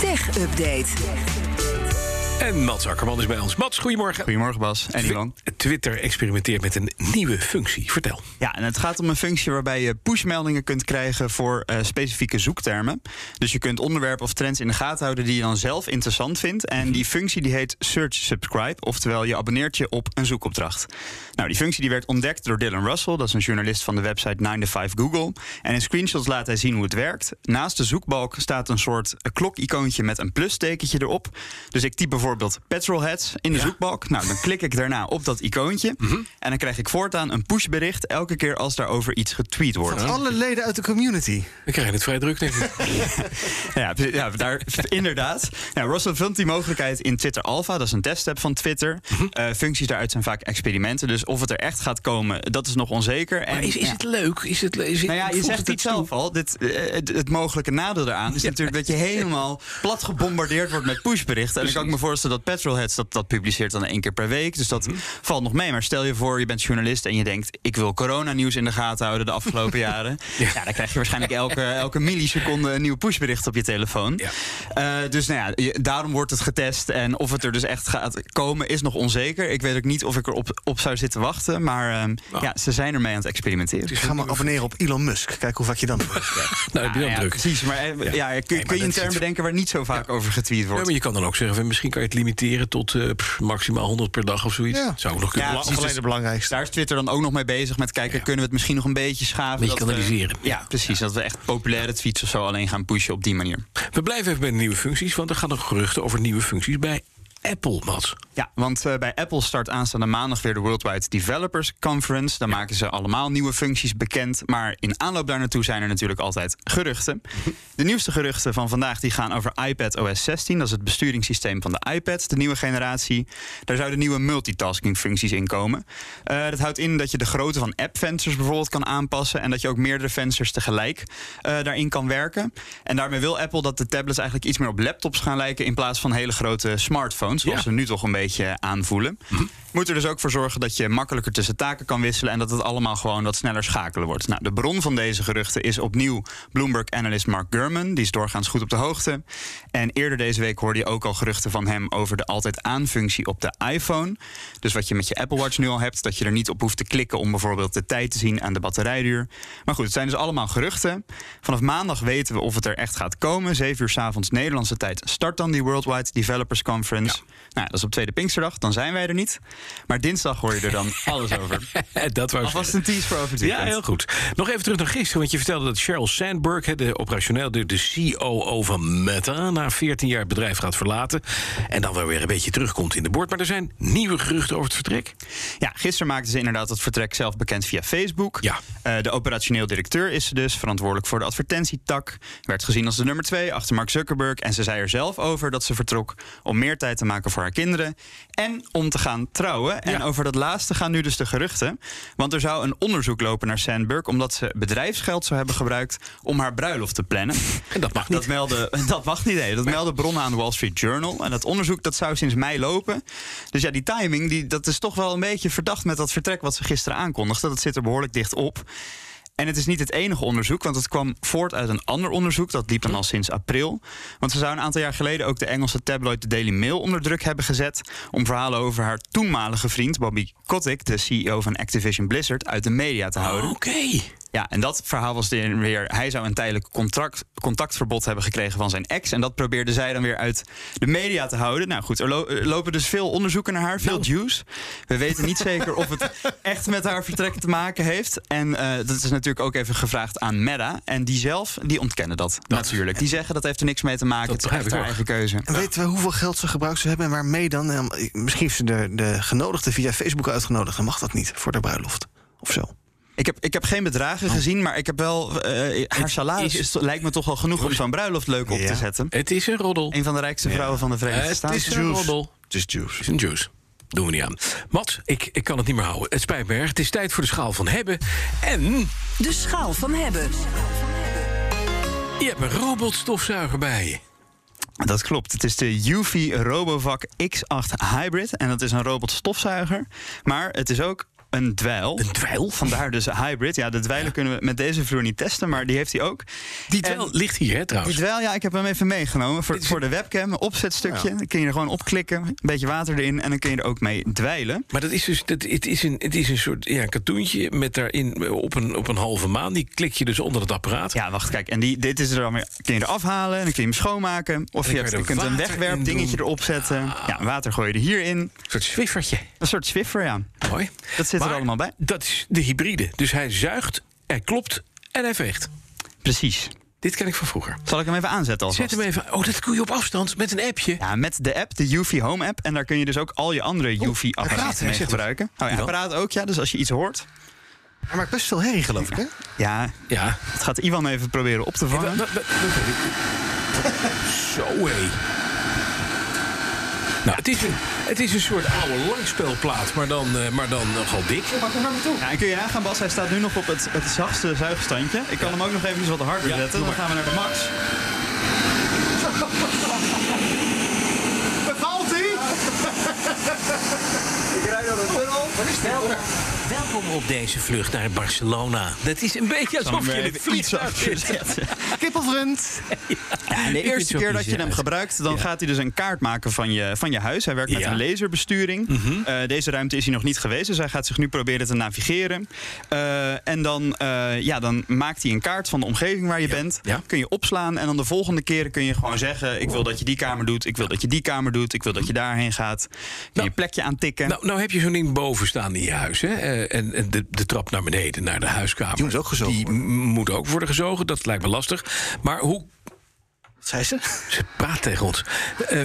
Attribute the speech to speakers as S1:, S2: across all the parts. S1: Tech Update.
S2: En Mats Akkerman is bij ons. Mats, goedemorgen.
S3: Goedemorgen Bas en Ilan.
S2: Twi- Twitter experimenteert met een nieuwe functie. Vertel.
S3: Ja, en het gaat om een functie waarbij je pushmeldingen kunt krijgen voor eh, specifieke zoektermen. Dus je kunt onderwerpen of trends in de gaten houden die je dan zelf interessant vindt. En die functie die heet Search Subscribe, oftewel je abonneert je op een zoekopdracht. Nou, die functie die werd ontdekt door Dylan Russell, dat is een journalist van de website 9 to 5 Google. En in screenshots laat hij zien hoe het werkt. Naast de zoekbalk staat een soort eh, klokicoontje met een plustekentje erop. Dus ik typ bijvoorbeeld petrolheads in de zoekbalk. Nou, dan klik ik daarna op dat icoontje.
S2: Mhm.
S3: En dan krijg ik voortaan een pushbericht elke keer als daarover iets getweet wordt.
S4: Alle leden uit de community.
S2: We krijgen het vrij druk, denk ik.
S3: Ja, pre- ja daar, inderdaad. Nou, Russell vindt die mogelijkheid in Twitter Alpha. Dat is een testapp van Twitter.
S2: Mhm.
S3: Eh, functies daaruit zijn vaak experimenten. Dus of het er echt gaat komen, dat is nog onzeker. En,
S2: Maar is, is
S3: ja.
S2: het leuk? Is het, is het,
S3: Nou ja, je
S2: voegt
S3: zegt het
S2: iets toe?
S3: zelf al. Dit, eh, het, het mogelijke nadeel daaraan is natuurlijk dat je helemaal plat gebombardeerd wordt met pushberichten. En ik kan ik me voorstellen dat Petrolheads dat, dat publiceert dan één keer per week. Dus dat valt nog mee. Maar stel je voor, je bent journalist en je denkt... ik wil coronanieuws in de gaten houden de afgelopen jaren. Ja. dan krijg je waarschijnlijk elke, elke milliseconde een nieuw pushbericht op je telefoon.
S2: Ja.
S3: Eh, dus nou ja, je- daarom wordt het getest. En of het er dus echt gaat komen, is nog onzeker. Ik weet ook niet of ik erop op zou zitten wachten. Maar ehm, ja, ze zijn ermee aan het experimenteren.
S4: Ga maar abonneren op Elon Musk. Kijk hoe vaak je dan.
S2: Nou, heb je dan
S3: Ja,
S2: druk.
S3: precies. Maar eh, ja. kun, kun
S2: dat
S3: je een
S2: is
S3: term
S2: het.
S3: bedenken waar niet zo vaak over getweet
S2: Ja,
S3: wordt?
S2: maar je kan dan ook zeggen, van, misschien kan je het limiteren tot eh, pff, maximaal 100 per dag of zoiets.
S4: Ja.
S2: Zou ook nog kunnen.
S3: Ja,
S2: Ja,
S3: precies.
S4: Alleen de belangrijkste.
S3: Daar is Twitter dan ook nog mee bezig met kijken, kunnen we het misschien nog een beetje schaven?
S2: Beetje
S3: dat we-
S2: kanaliseren.
S3: ja, precies. Dat we echt populaire tweets of zo alleen gaan pushen op die manier.
S2: We blijven even bij de nieuwe functies, want er gaan nog geruchten over nieuwe functies bij Apple, Mats.
S3: Ja, want eh, bij Apple start aanstaande maandag weer de Worldwide Developers Conference. Daar maken ze allemaal nieuwe functies bekend. Maar in aanloop daar naartoe zijn er natuurlijk altijd geruchten. De nieuwste geruchten van vandaag die gaan over iPad OS 16. Dat is het besturingssysteem van de iPad, de nieuwe generatie. Daar zouden nieuwe multitasking functies in komen. Eh, dat houdt in dat je de grootte van app-vensters bijvoorbeeld kan aanpassen. En dat je ook meerdere vensters tegelijk eh, daarin kan werken. En daarmee wil Apple dat de tablets eigenlijk iets meer op laptops gaan lijken. In plaats van hele grote smartphones. Zoals
S2: Ja.
S3: ze nu toch een beetje aanvoelen. Moet er dus ook voor zorgen dat je makkelijker tussen taken kan wisselen en dat het allemaal gewoon wat sneller schakelen wordt. Nou, de bron van deze geruchten is opnieuw Bloomberg analyst Mark Gurman. Die is doorgaans goed op de hoogte. En eerder deze week hoorde je ook al geruchten van hem over de altijd aan functie op de iPhone. Dus wat je met je Apple Watch nu al hebt, dat je er niet op hoeft te klikken om bijvoorbeeld de tijd te zien aan de batterijduur. Maar goed, het zijn dus allemaal geruchten. Vanaf maandag weten we of het er echt gaat komen. 7 uur 's avonds Nederlandse tijd start dan die Worldwide Developers Conference. Nou, dat is op tweede Pinksterdag, dan zijn wij er niet. Maar dinsdag hoor je er dan alles over.
S2: dat was
S3: Alvast een tease voor over het
S2: Ja,
S3: weekend.
S2: heel goed. Nog even terug naar gisteren, want je vertelde dat Sheryl Sandberg, hè, de operationeel, de, de COO van Meta, na 14 jaar het bedrijf gaat verlaten. En dan wel weer een beetje terugkomt in de boord. Maar er zijn nieuwe geruchten over het vertrek.
S3: Ja, gisteren maakten ze inderdaad het vertrek zelf bekend via Facebook.
S2: Ja.
S3: Eh, de operationeel directeur is ze dus, verantwoordelijk voor de advertentietak. Werd gezien als de nummer twee achter Mark Zuckerberg. En ze zei er zelf over dat ze vertrok om meer tijd te maken voor haar kinderen. En om te gaan trouwen. En over dat laatste gaan nu dus de geruchten. Want er zou een onderzoek lopen naar Sandberg... omdat ze bedrijfsgeld zou hebben gebruikt om haar bruiloft te plannen.
S2: En dat mag
S3: Dat,
S2: niet.
S3: meldde, dat mag niet, nee. Dat melden bronnen aan de Wall Street Journal. En dat onderzoek dat zou sinds mei lopen. Dus ja, die timing die, dat is toch wel een beetje verdacht met dat vertrek wat ze gisteren aankondigden. Dat zit er behoorlijk dicht op. En het is niet het enige onderzoek, want het kwam voort uit een ander onderzoek. Dat liep dan al sinds april. Want ze zou een aantal jaar geleden ook de Engelse tabloid The Daily Mail onder druk hebben gezet. om verhalen over haar toenmalige vriend Bobby Kotick, de CEO van Activision Blizzard, uit de media te houden.
S2: Oké.
S3: Ja, en dat verhaal was er weer. Hij zou een tijdelijk contract, contactverbod hebben gekregen van zijn ex. En dat probeerde zij dan weer uit de media te houden. Nou goed, er lo- er lopen dus veel onderzoeken naar haar, veel
S2: Nou.
S3: juice. We weten niet zeker of het echt met haar vertrek te maken heeft. En eh, dat is natuurlijk ook even gevraagd aan Meta. En die zelf, die ontkennen dat, natuurlijk. Die zeggen dat heeft er niks mee te maken.
S2: Dat
S3: het is echt haar
S2: begrijp
S3: eigen keuze.
S4: En weten we hoeveel geld ze gebruikt zou hebben en waarmee dan? Eh, Misschien heeft ze de, de genodigden via Facebook uitgenodigd. Dan mag dat niet voor de bruiloft. Of zo.
S3: Ik heb, ik heb geen bedragen gezien, maar ik heb wel. eh, haar salaris
S2: Oh. is-
S3: is, lijkt me toch wel genoeg om zo'n bruiloft leuk op
S4: Ja.
S3: te zetten.
S2: Het is een roddel.
S3: Een van de rijkste vrouwen van de
S2: Eh,
S3: Verenigde
S2: het
S3: Staten.
S2: is een roddel.
S4: Het is juice.
S2: Het is een juice. Doen we niet aan. Mats, ik, ik kan het niet meer houden. Het spijt me erg. Het is tijd voor de schaal van hebben. En
S1: De schaal van hebben.
S2: je hebt een robotstofzuiger bij je.
S3: Dat klopt. Het is de Eufy RoboVac X8 Hybrid. En dat is een robotstofzuiger. Maar het is ook Een dweil.
S2: Een dweil?
S3: Vandaar dus hybrid. Ja, de dweilen kunnen we met deze vloer niet testen, maar die heeft hij ook.
S2: Die dweil ligt hier, hè,
S3: Die
S2: trouwens.
S3: dweil, ja, ik heb hem even meegenomen voor, voor de webcam. Een opzetstukje. Dan kun je er gewoon op klikken. Een beetje water erin en dan kun je er ook mee dweilen.
S2: Maar dat is dus, dat, het, is een, het is een soort ja, katoentje met daarin op een, op een halve maan. Die klik je dus onder het apparaat.
S3: Ja, wacht, kijk. En die, dit is er dan weer. Kun je er afhalen en dan kun je hem schoonmaken. Of je,
S2: kan je
S3: hebt,
S2: er
S3: je kunt een
S2: water in
S3: wegwerpdingetje
S2: doen. Ah.
S3: erop zetten. Ja, water gooi je er hierin.
S2: Een soort zwiffertje.
S3: Een soort Swiffer, ja.
S2: Mooi.
S3: Dat zit er
S2: Maar
S3: allemaal bij.
S2: Dat is de hybride. Dus hij zuigt, hij klopt en hij veegt.
S3: Precies.
S2: Dit ken ik van vroeger.
S3: Zal ik hem even aanzetten alvast?
S2: Zet hem even. Oh, dat kun je op afstand met een appje.
S3: Ja, met de app, de Uvi Home app. En daar kun je dus ook al je andere
S2: hij praat,
S3: Uvi-apparaten
S2: hij
S3: mee
S2: zegt het.
S3: gebruiken. Oh ja, hij praat ook, ja. Dus als je iets hoort.
S4: Hij maakt best veel herrie, geloof ik, hè?
S3: Ja,
S2: Ja.
S3: dat gaat Ivan even proberen op te
S2: Wa- wa-
S3: vangen.
S2: wa- wa- Zo hé. Nou, het is, een, het is een soort oude langspelplaat, maar dan, eh, maar dan nogal dik.
S3: Ja, en kun je nagaan, Bas, hij staat nu nog op het, het zachtste zuigstandje. Ik kan hem ook nog even iets wat harder
S2: Ja,
S3: zetten.
S2: doe
S3: Dan
S2: maar.
S3: gaan we naar de max. Bevalt hij?
S2: Welkom op deze vlucht naar Barcelona. Dat is een beetje alsof je in het vliegtuig zit.
S4: Kippelvrend.
S3: Ja, de
S2: Ik vind het
S3: eerste
S2: zo
S3: keer dat je
S2: bizar.
S3: hem gebruikt, dan gaat hij dus een kaart maken van je, van je huis. Hij werkt met
S2: Ja. Mhm.
S3: een laserbesturing. Eh, deze ruimte is hij nog niet geweest, dus hij gaat zich nu proberen te navigeren. Eh, en dan, eh, ja, dan maakt hij een kaart van de omgeving waar je bent.
S2: Ja.
S3: Kun je opslaan en dan de volgende keren kun je gewoon zeggen... ik wil dat je die kamer doet, ik wil dat je die kamer doet, ik wil dat je daarheen gaat. Kun je
S2: Nou.
S3: je plekje aantikken.
S2: Nou, nou heb je zo'n ding boven staan in je huis. Hè? Eh, en en de, de trap naar beneden, naar de huiskamer.
S4: Die moet ook gezogen
S2: Die m- moet ook worden gezogen, dat lijkt me lastig. Maar hoe...
S4: Wat zei ze?
S2: Ze praat tegen ons. Eh,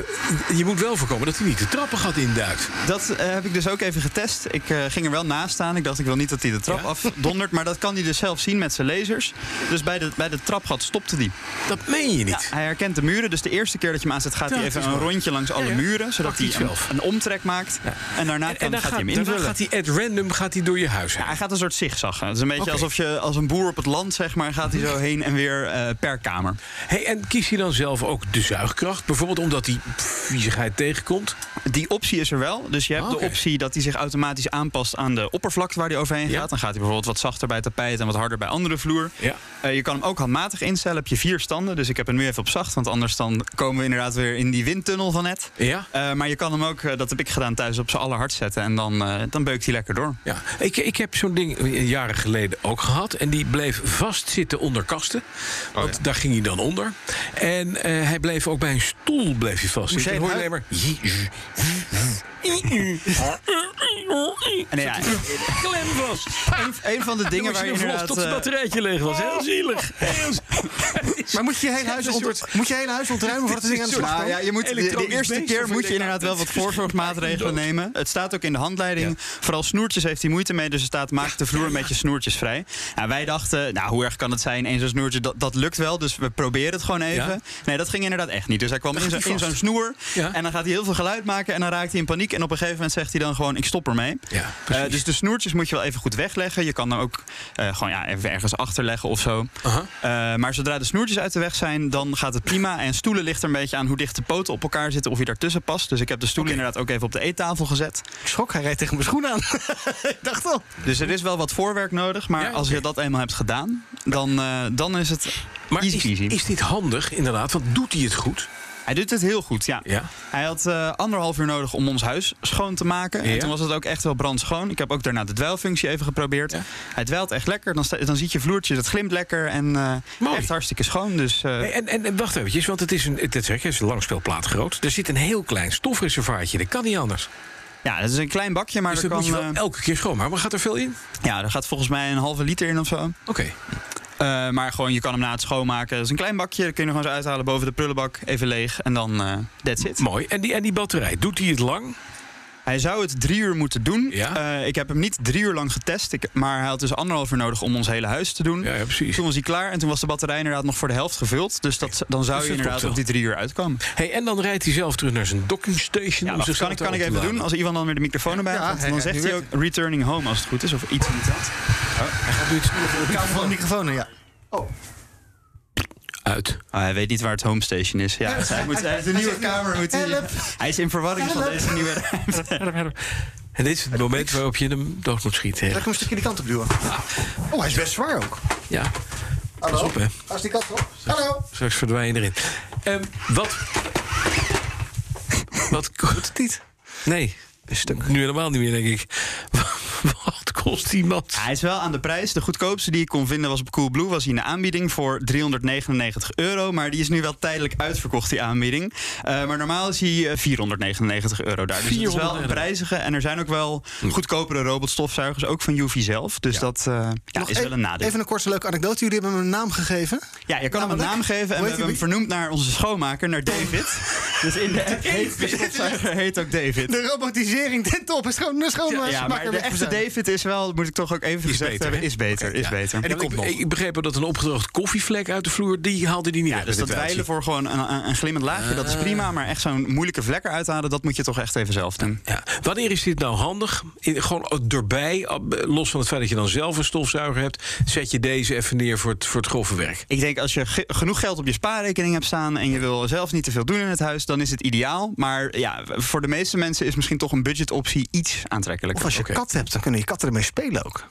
S2: je moet wel voorkomen dat hij niet de trappen gaat induikt.
S3: Dat eh, heb ik dus ook even getest. Ik eh, ging er wel naast staan. Ik dacht, ik wil niet dat hij de trap
S2: Ja?
S3: afdondert. Maar dat kan hij dus zelf zien met zijn lasers. Dus bij de, bij de trapgat stopte hij.
S2: Dat meen je niet.
S3: Hij herkent de muren, dus de eerste keer dat je hem aanzet... gaat
S2: Ja,
S3: hij
S2: het
S3: even
S2: is
S3: een
S2: waar.
S3: rondje langs alle
S2: ja.
S3: muren... zodat
S2: Pakt hij
S3: hij een,
S2: zelf.
S3: een omtrek maakt. En daarna kan,
S2: dan
S3: gaat, hij hem
S2: daarna
S3: invullen.
S2: gaat hij at random gaat hij door je huis heen.
S3: Hij gaat een soort zigzaggen. Het is een beetje
S2: Oké.
S3: alsof je als een boer op het land, zeg maar... gaat hij zo heen en weer eh, per kamer.
S2: Hey, en kies je dan zelf ook de zuigkracht? Bijvoorbeeld omdat die viezigheid tegenkomt?
S3: Die optie is er wel. Dus je hebt
S2: Oké.
S3: de optie dat hij zich automatisch aanpast aan de oppervlakte waar hij overheen
S2: Ja.
S3: gaat. Dan gaat hij bijvoorbeeld wat zachter bij tapijt en wat harder bij andere vloer.
S2: Ja.
S3: Eh, je kan hem ook handmatig instellen. Heb je vier standen. Dus ik heb hem nu even op zacht. Want anders dan komen we inderdaad weer in die windtunnel van net.
S2: Ja.
S3: Eh, maar je kan hem ook, eh, dat heb ik gedaan thuis, op z'n allerhard zetten. En dan, eh, dan beukt hij lekker door.
S2: Ja, ik, ik heb zo'n ding eh, jaren geleden ook gehad. En die bleef vastzitten onder kasten.
S3: Oh,
S2: Want daar ging hij dan onder. En eh, hij bleef ook bij een stoel bleef hij vastzitten.
S4: zei
S2: Dan hoor je
S4: hij?
S2: alleen maar...
S3: En ja,
S2: Klem vast.
S3: een, een van de dingen waar je inderdaad...
S2: tot het
S3: eh,
S2: batterijtje leeg was. Heel zielig. Heel zielig.
S4: Maar moet je je hele
S2: Het
S4: huis,
S2: is een
S4: ont-
S2: soort-
S4: moet je hele huis ontruimen voordat het ding aan de
S2: Dit is
S4: slag
S2: een
S3: Nou
S4: komt?
S3: ja, je moet, de, de
S2: Elektronisch
S3: eerste
S2: beest
S3: keer
S2: of
S3: moet je
S2: inderdaad,
S3: inderdaad wel
S2: het
S3: wat
S2: is verschrikkelijk
S3: voorzorgsmaatregelen
S2: dood.
S3: nemen. Het staat ook in de handleiding. Vooral snoertjes heeft hij moeite mee, dus er staat maak de vloer met je snoertjes vrij. Nou, wij dachten, nou hoe erg kan het zijn, één zo'n snoertje, dat, dat lukt wel, dus we proberen het gewoon even.
S2: Ja.
S3: Nee, dat ging inderdaad echt niet. Dus hij kwam in zo'n
S2: gaat hij
S3: in zo'n
S2: vast.
S3: snoer
S2: Ja.
S3: en dan gaat hij heel veel geluid maken en dan raakt hij in paniek. En op een gegeven moment zegt hij dan gewoon, ik stop ermee.
S2: Ja,
S3: Eh,
S2: precies.
S3: dus de snoertjes moet je wel even goed wegleggen. Je kan dan ook eh, gewoon ja, even ergens achterleggen of zo.
S2: Aha.
S3: Eh, maar zodra de snoertjes uit de weg zijn, dan gaat het prima. En stoelen ligt er een beetje aan hoe dicht de poten op elkaar zitten of je daartussen past. Dus ik heb de stoelen inderdaad ook even op de eettafel gezet.
S4: Ik schrok, hij rijdt tegen mijn schoen aan. ik dacht al.
S3: Dus er is wel wat voorwerk nodig. Maar
S2: Ja,
S3: als
S2: oké.
S3: je dat eenmaal hebt gedaan, dan, eh, dan is het
S2: Maar
S3: easy
S2: is,
S3: peasy.
S2: is dit handig inderdaad? Want doet hij het goed?
S3: Hij doet het heel goed, ja.
S2: Ja.
S3: Hij had eh, anderhalf uur nodig om ons huis schoon te maken.
S2: Ja.
S3: En toen was het ook echt wel brandschoon. Ik heb ook daarna de dweilfunctie even geprobeerd.
S2: Ja.
S3: Hij dweilt echt lekker. Dan, sta- dan ziet je vloertje, dat glimt lekker. En eh
S2: Mooi.
S3: echt hartstikke schoon. Dus eh,
S2: Hey, En, en, en wacht eventjes, want het is een, het zeg, je, het is een langspeelplaat groot. Er zit een heel klein stofreservaatje, dat kan niet anders.
S3: ja, dat is een klein bakje, maar
S2: dus
S3: er
S2: dat
S3: kan...
S2: moet je wel
S3: eh,
S2: elke keer schoonmaken. Maar gaat er veel in?
S3: Ja, er gaat volgens mij een halve liter in of zo.
S2: Oké.
S3: Eh, maar gewoon, je kan hem na het schoonmaken. Dat is een klein bakje, dat kun je nog eens uithalen boven de prullenbak. Even leeg en dan eh that's it.
S2: Mooi. En die, en die batterij, doet hij het lang?
S3: Hij zou het drie uur moeten doen.
S2: Ja.
S3: Eh, ik heb hem niet drie uur lang getest. Ik, maar hij had dus anderhalf uur nodig om ons hele huis te doen.
S2: Ja, ja, precies.
S3: Toen was hij klaar en toen was de batterij inderdaad nog voor de helft gevuld. Dus dat, dan zou
S2: Dus dat
S3: je inderdaad
S2: komt
S3: op die drie uur uitkomen.
S2: Hey, en dan rijdt hij zelf terug naar zijn docking station.
S3: Ja,
S2: om
S3: wacht,
S2: zichzelf
S3: kan ik,
S2: te
S3: kan ik even
S2: ontladen.
S3: doen als iemand dan weer de microfoon erbij
S4: Ja,
S3: had?
S4: hij-
S3: Dan
S4: hij-
S3: zegt
S4: hij
S3: hij ook returning home als het goed is. Of iets in die trant.
S2: Hij gaat nu iets
S4: Ik hou van de microfoon, ja.
S2: uit.
S3: Ah, hij weet niet waar het home station is. Ja, hij, moet, hij heeft een nieuwe kamer. Moet hij,
S4: Help.
S3: hij is in verwarring van
S4: Help.
S3: deze nieuwe ruimte.
S2: En dit is het moment waarop je hem dood moet schieten.
S4: Laat
S2: hè?
S4: ik hem een stukje die kant op duwen. Oh, hij is best zwaar ook.
S2: Ja,
S4: Hallo?
S2: Pas op, hè.
S4: Als die kant op. Hallo?
S2: straks verdwijn je erin. Ehm, wat... Wat kost
S4: Niet.
S2: Nee, nu helemaal niet meer, denk ik. Wat kost die mat?
S3: Hij is wel aan de prijs. De goedkoopste die ik kon vinden was op Coolblue. Was in de aanbieding voor 399 euro. Maar die is nu wel tijdelijk uitverkocht, die aanbieding. Eh, maar normaal is hij eh, 499 euro daar. Dus het is wel een
S2: 499.
S3: prijzige. En er zijn ook wel goedkopere robotstofzuigers. Ook van Juvi zelf. Dus dat eh, ja,
S4: Nog
S3: is
S4: e-
S3: wel een nadeel.
S4: Even een korte leuke anekdote. Jullie hebben hem een naam gegeven.
S3: Ja, je kan hem een
S4: Namelijk?
S3: naam geven. En
S4: Hoe
S3: we
S4: heet
S3: hebben
S4: die
S3: hem vernoemd naar onze schoonmaker, naar David. dus in de app heet de stofzuiger heet ook David.
S4: De robotisering ten top is gewoon een
S3: Ja,
S4: schoonmaak.
S3: maar de echte David is wel, moet ik toch ook even gezegd
S2: beter,
S3: hebben,
S2: hè?
S3: is beter. is beter.
S2: En
S4: dat
S2: ik,
S4: komt nog.
S2: ik begreep wel dat een opgedroogde koffievlek uit de vloer, die haalde die niet uit.
S3: Dus dat wijlen voor gewoon een, een, een glimmend laagje, dat is prima. Maar echt zo'n moeilijke vlek eruit halen, dat moet je toch echt even zelf doen.
S2: Ja. Wanneer is dit nou handig? In- gewoon erbij, eh, los van het feit dat je dan zelf een stofzuiger hebt, zet je deze even neer voor het, voor het grove werk.
S3: Ik denk als je ge- genoeg geld op je spaarrekening hebt staan en je wil zelf niet te veel doen in het huis, dan is het ideaal. Maar ja, voor de meeste mensen is misschien toch een budgetoptie iets aantrekkelijker.
S4: Of als
S2: Oké.
S4: je kat hebt, dan kunnen je katten ermee spelen ook.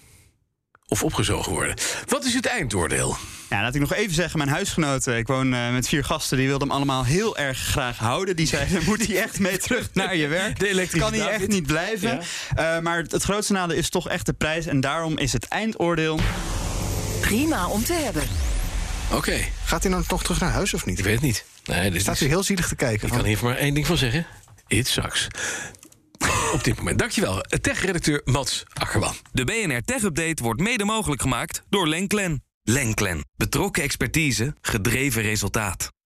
S2: Of opgezogen worden. Wat is het eindoordeel?
S3: Ja, laat ik nog even zeggen, mijn huisgenoten, ik woon eh, met vier gasten, die wilden hem allemaal heel erg graag houden. Die zeiden, moet hij echt mee terug naar je werk?
S2: De elektrische
S3: kan hij
S2: David.
S3: echt niet blijven. Eh, maar het, het grootste nadeel is toch echt de prijs en daarom is het eindoordeel...
S1: Prima om te hebben.
S2: Oké,
S4: Gaat hij nou toch terug naar huis of niet?
S2: ik weet het niet. Nee, dit
S4: Staat
S2: is,
S4: hij heel zielig te kijken.
S2: ik kan hier maar één ding van zeggen. It sucks. Op dit moment. Dankjewel, tech-redacteur Mats Akkerman.
S5: De BNR Tech Update wordt mede mogelijk gemaakt door Lenklen. Lenklen. Betrokken expertise, gedreven resultaat.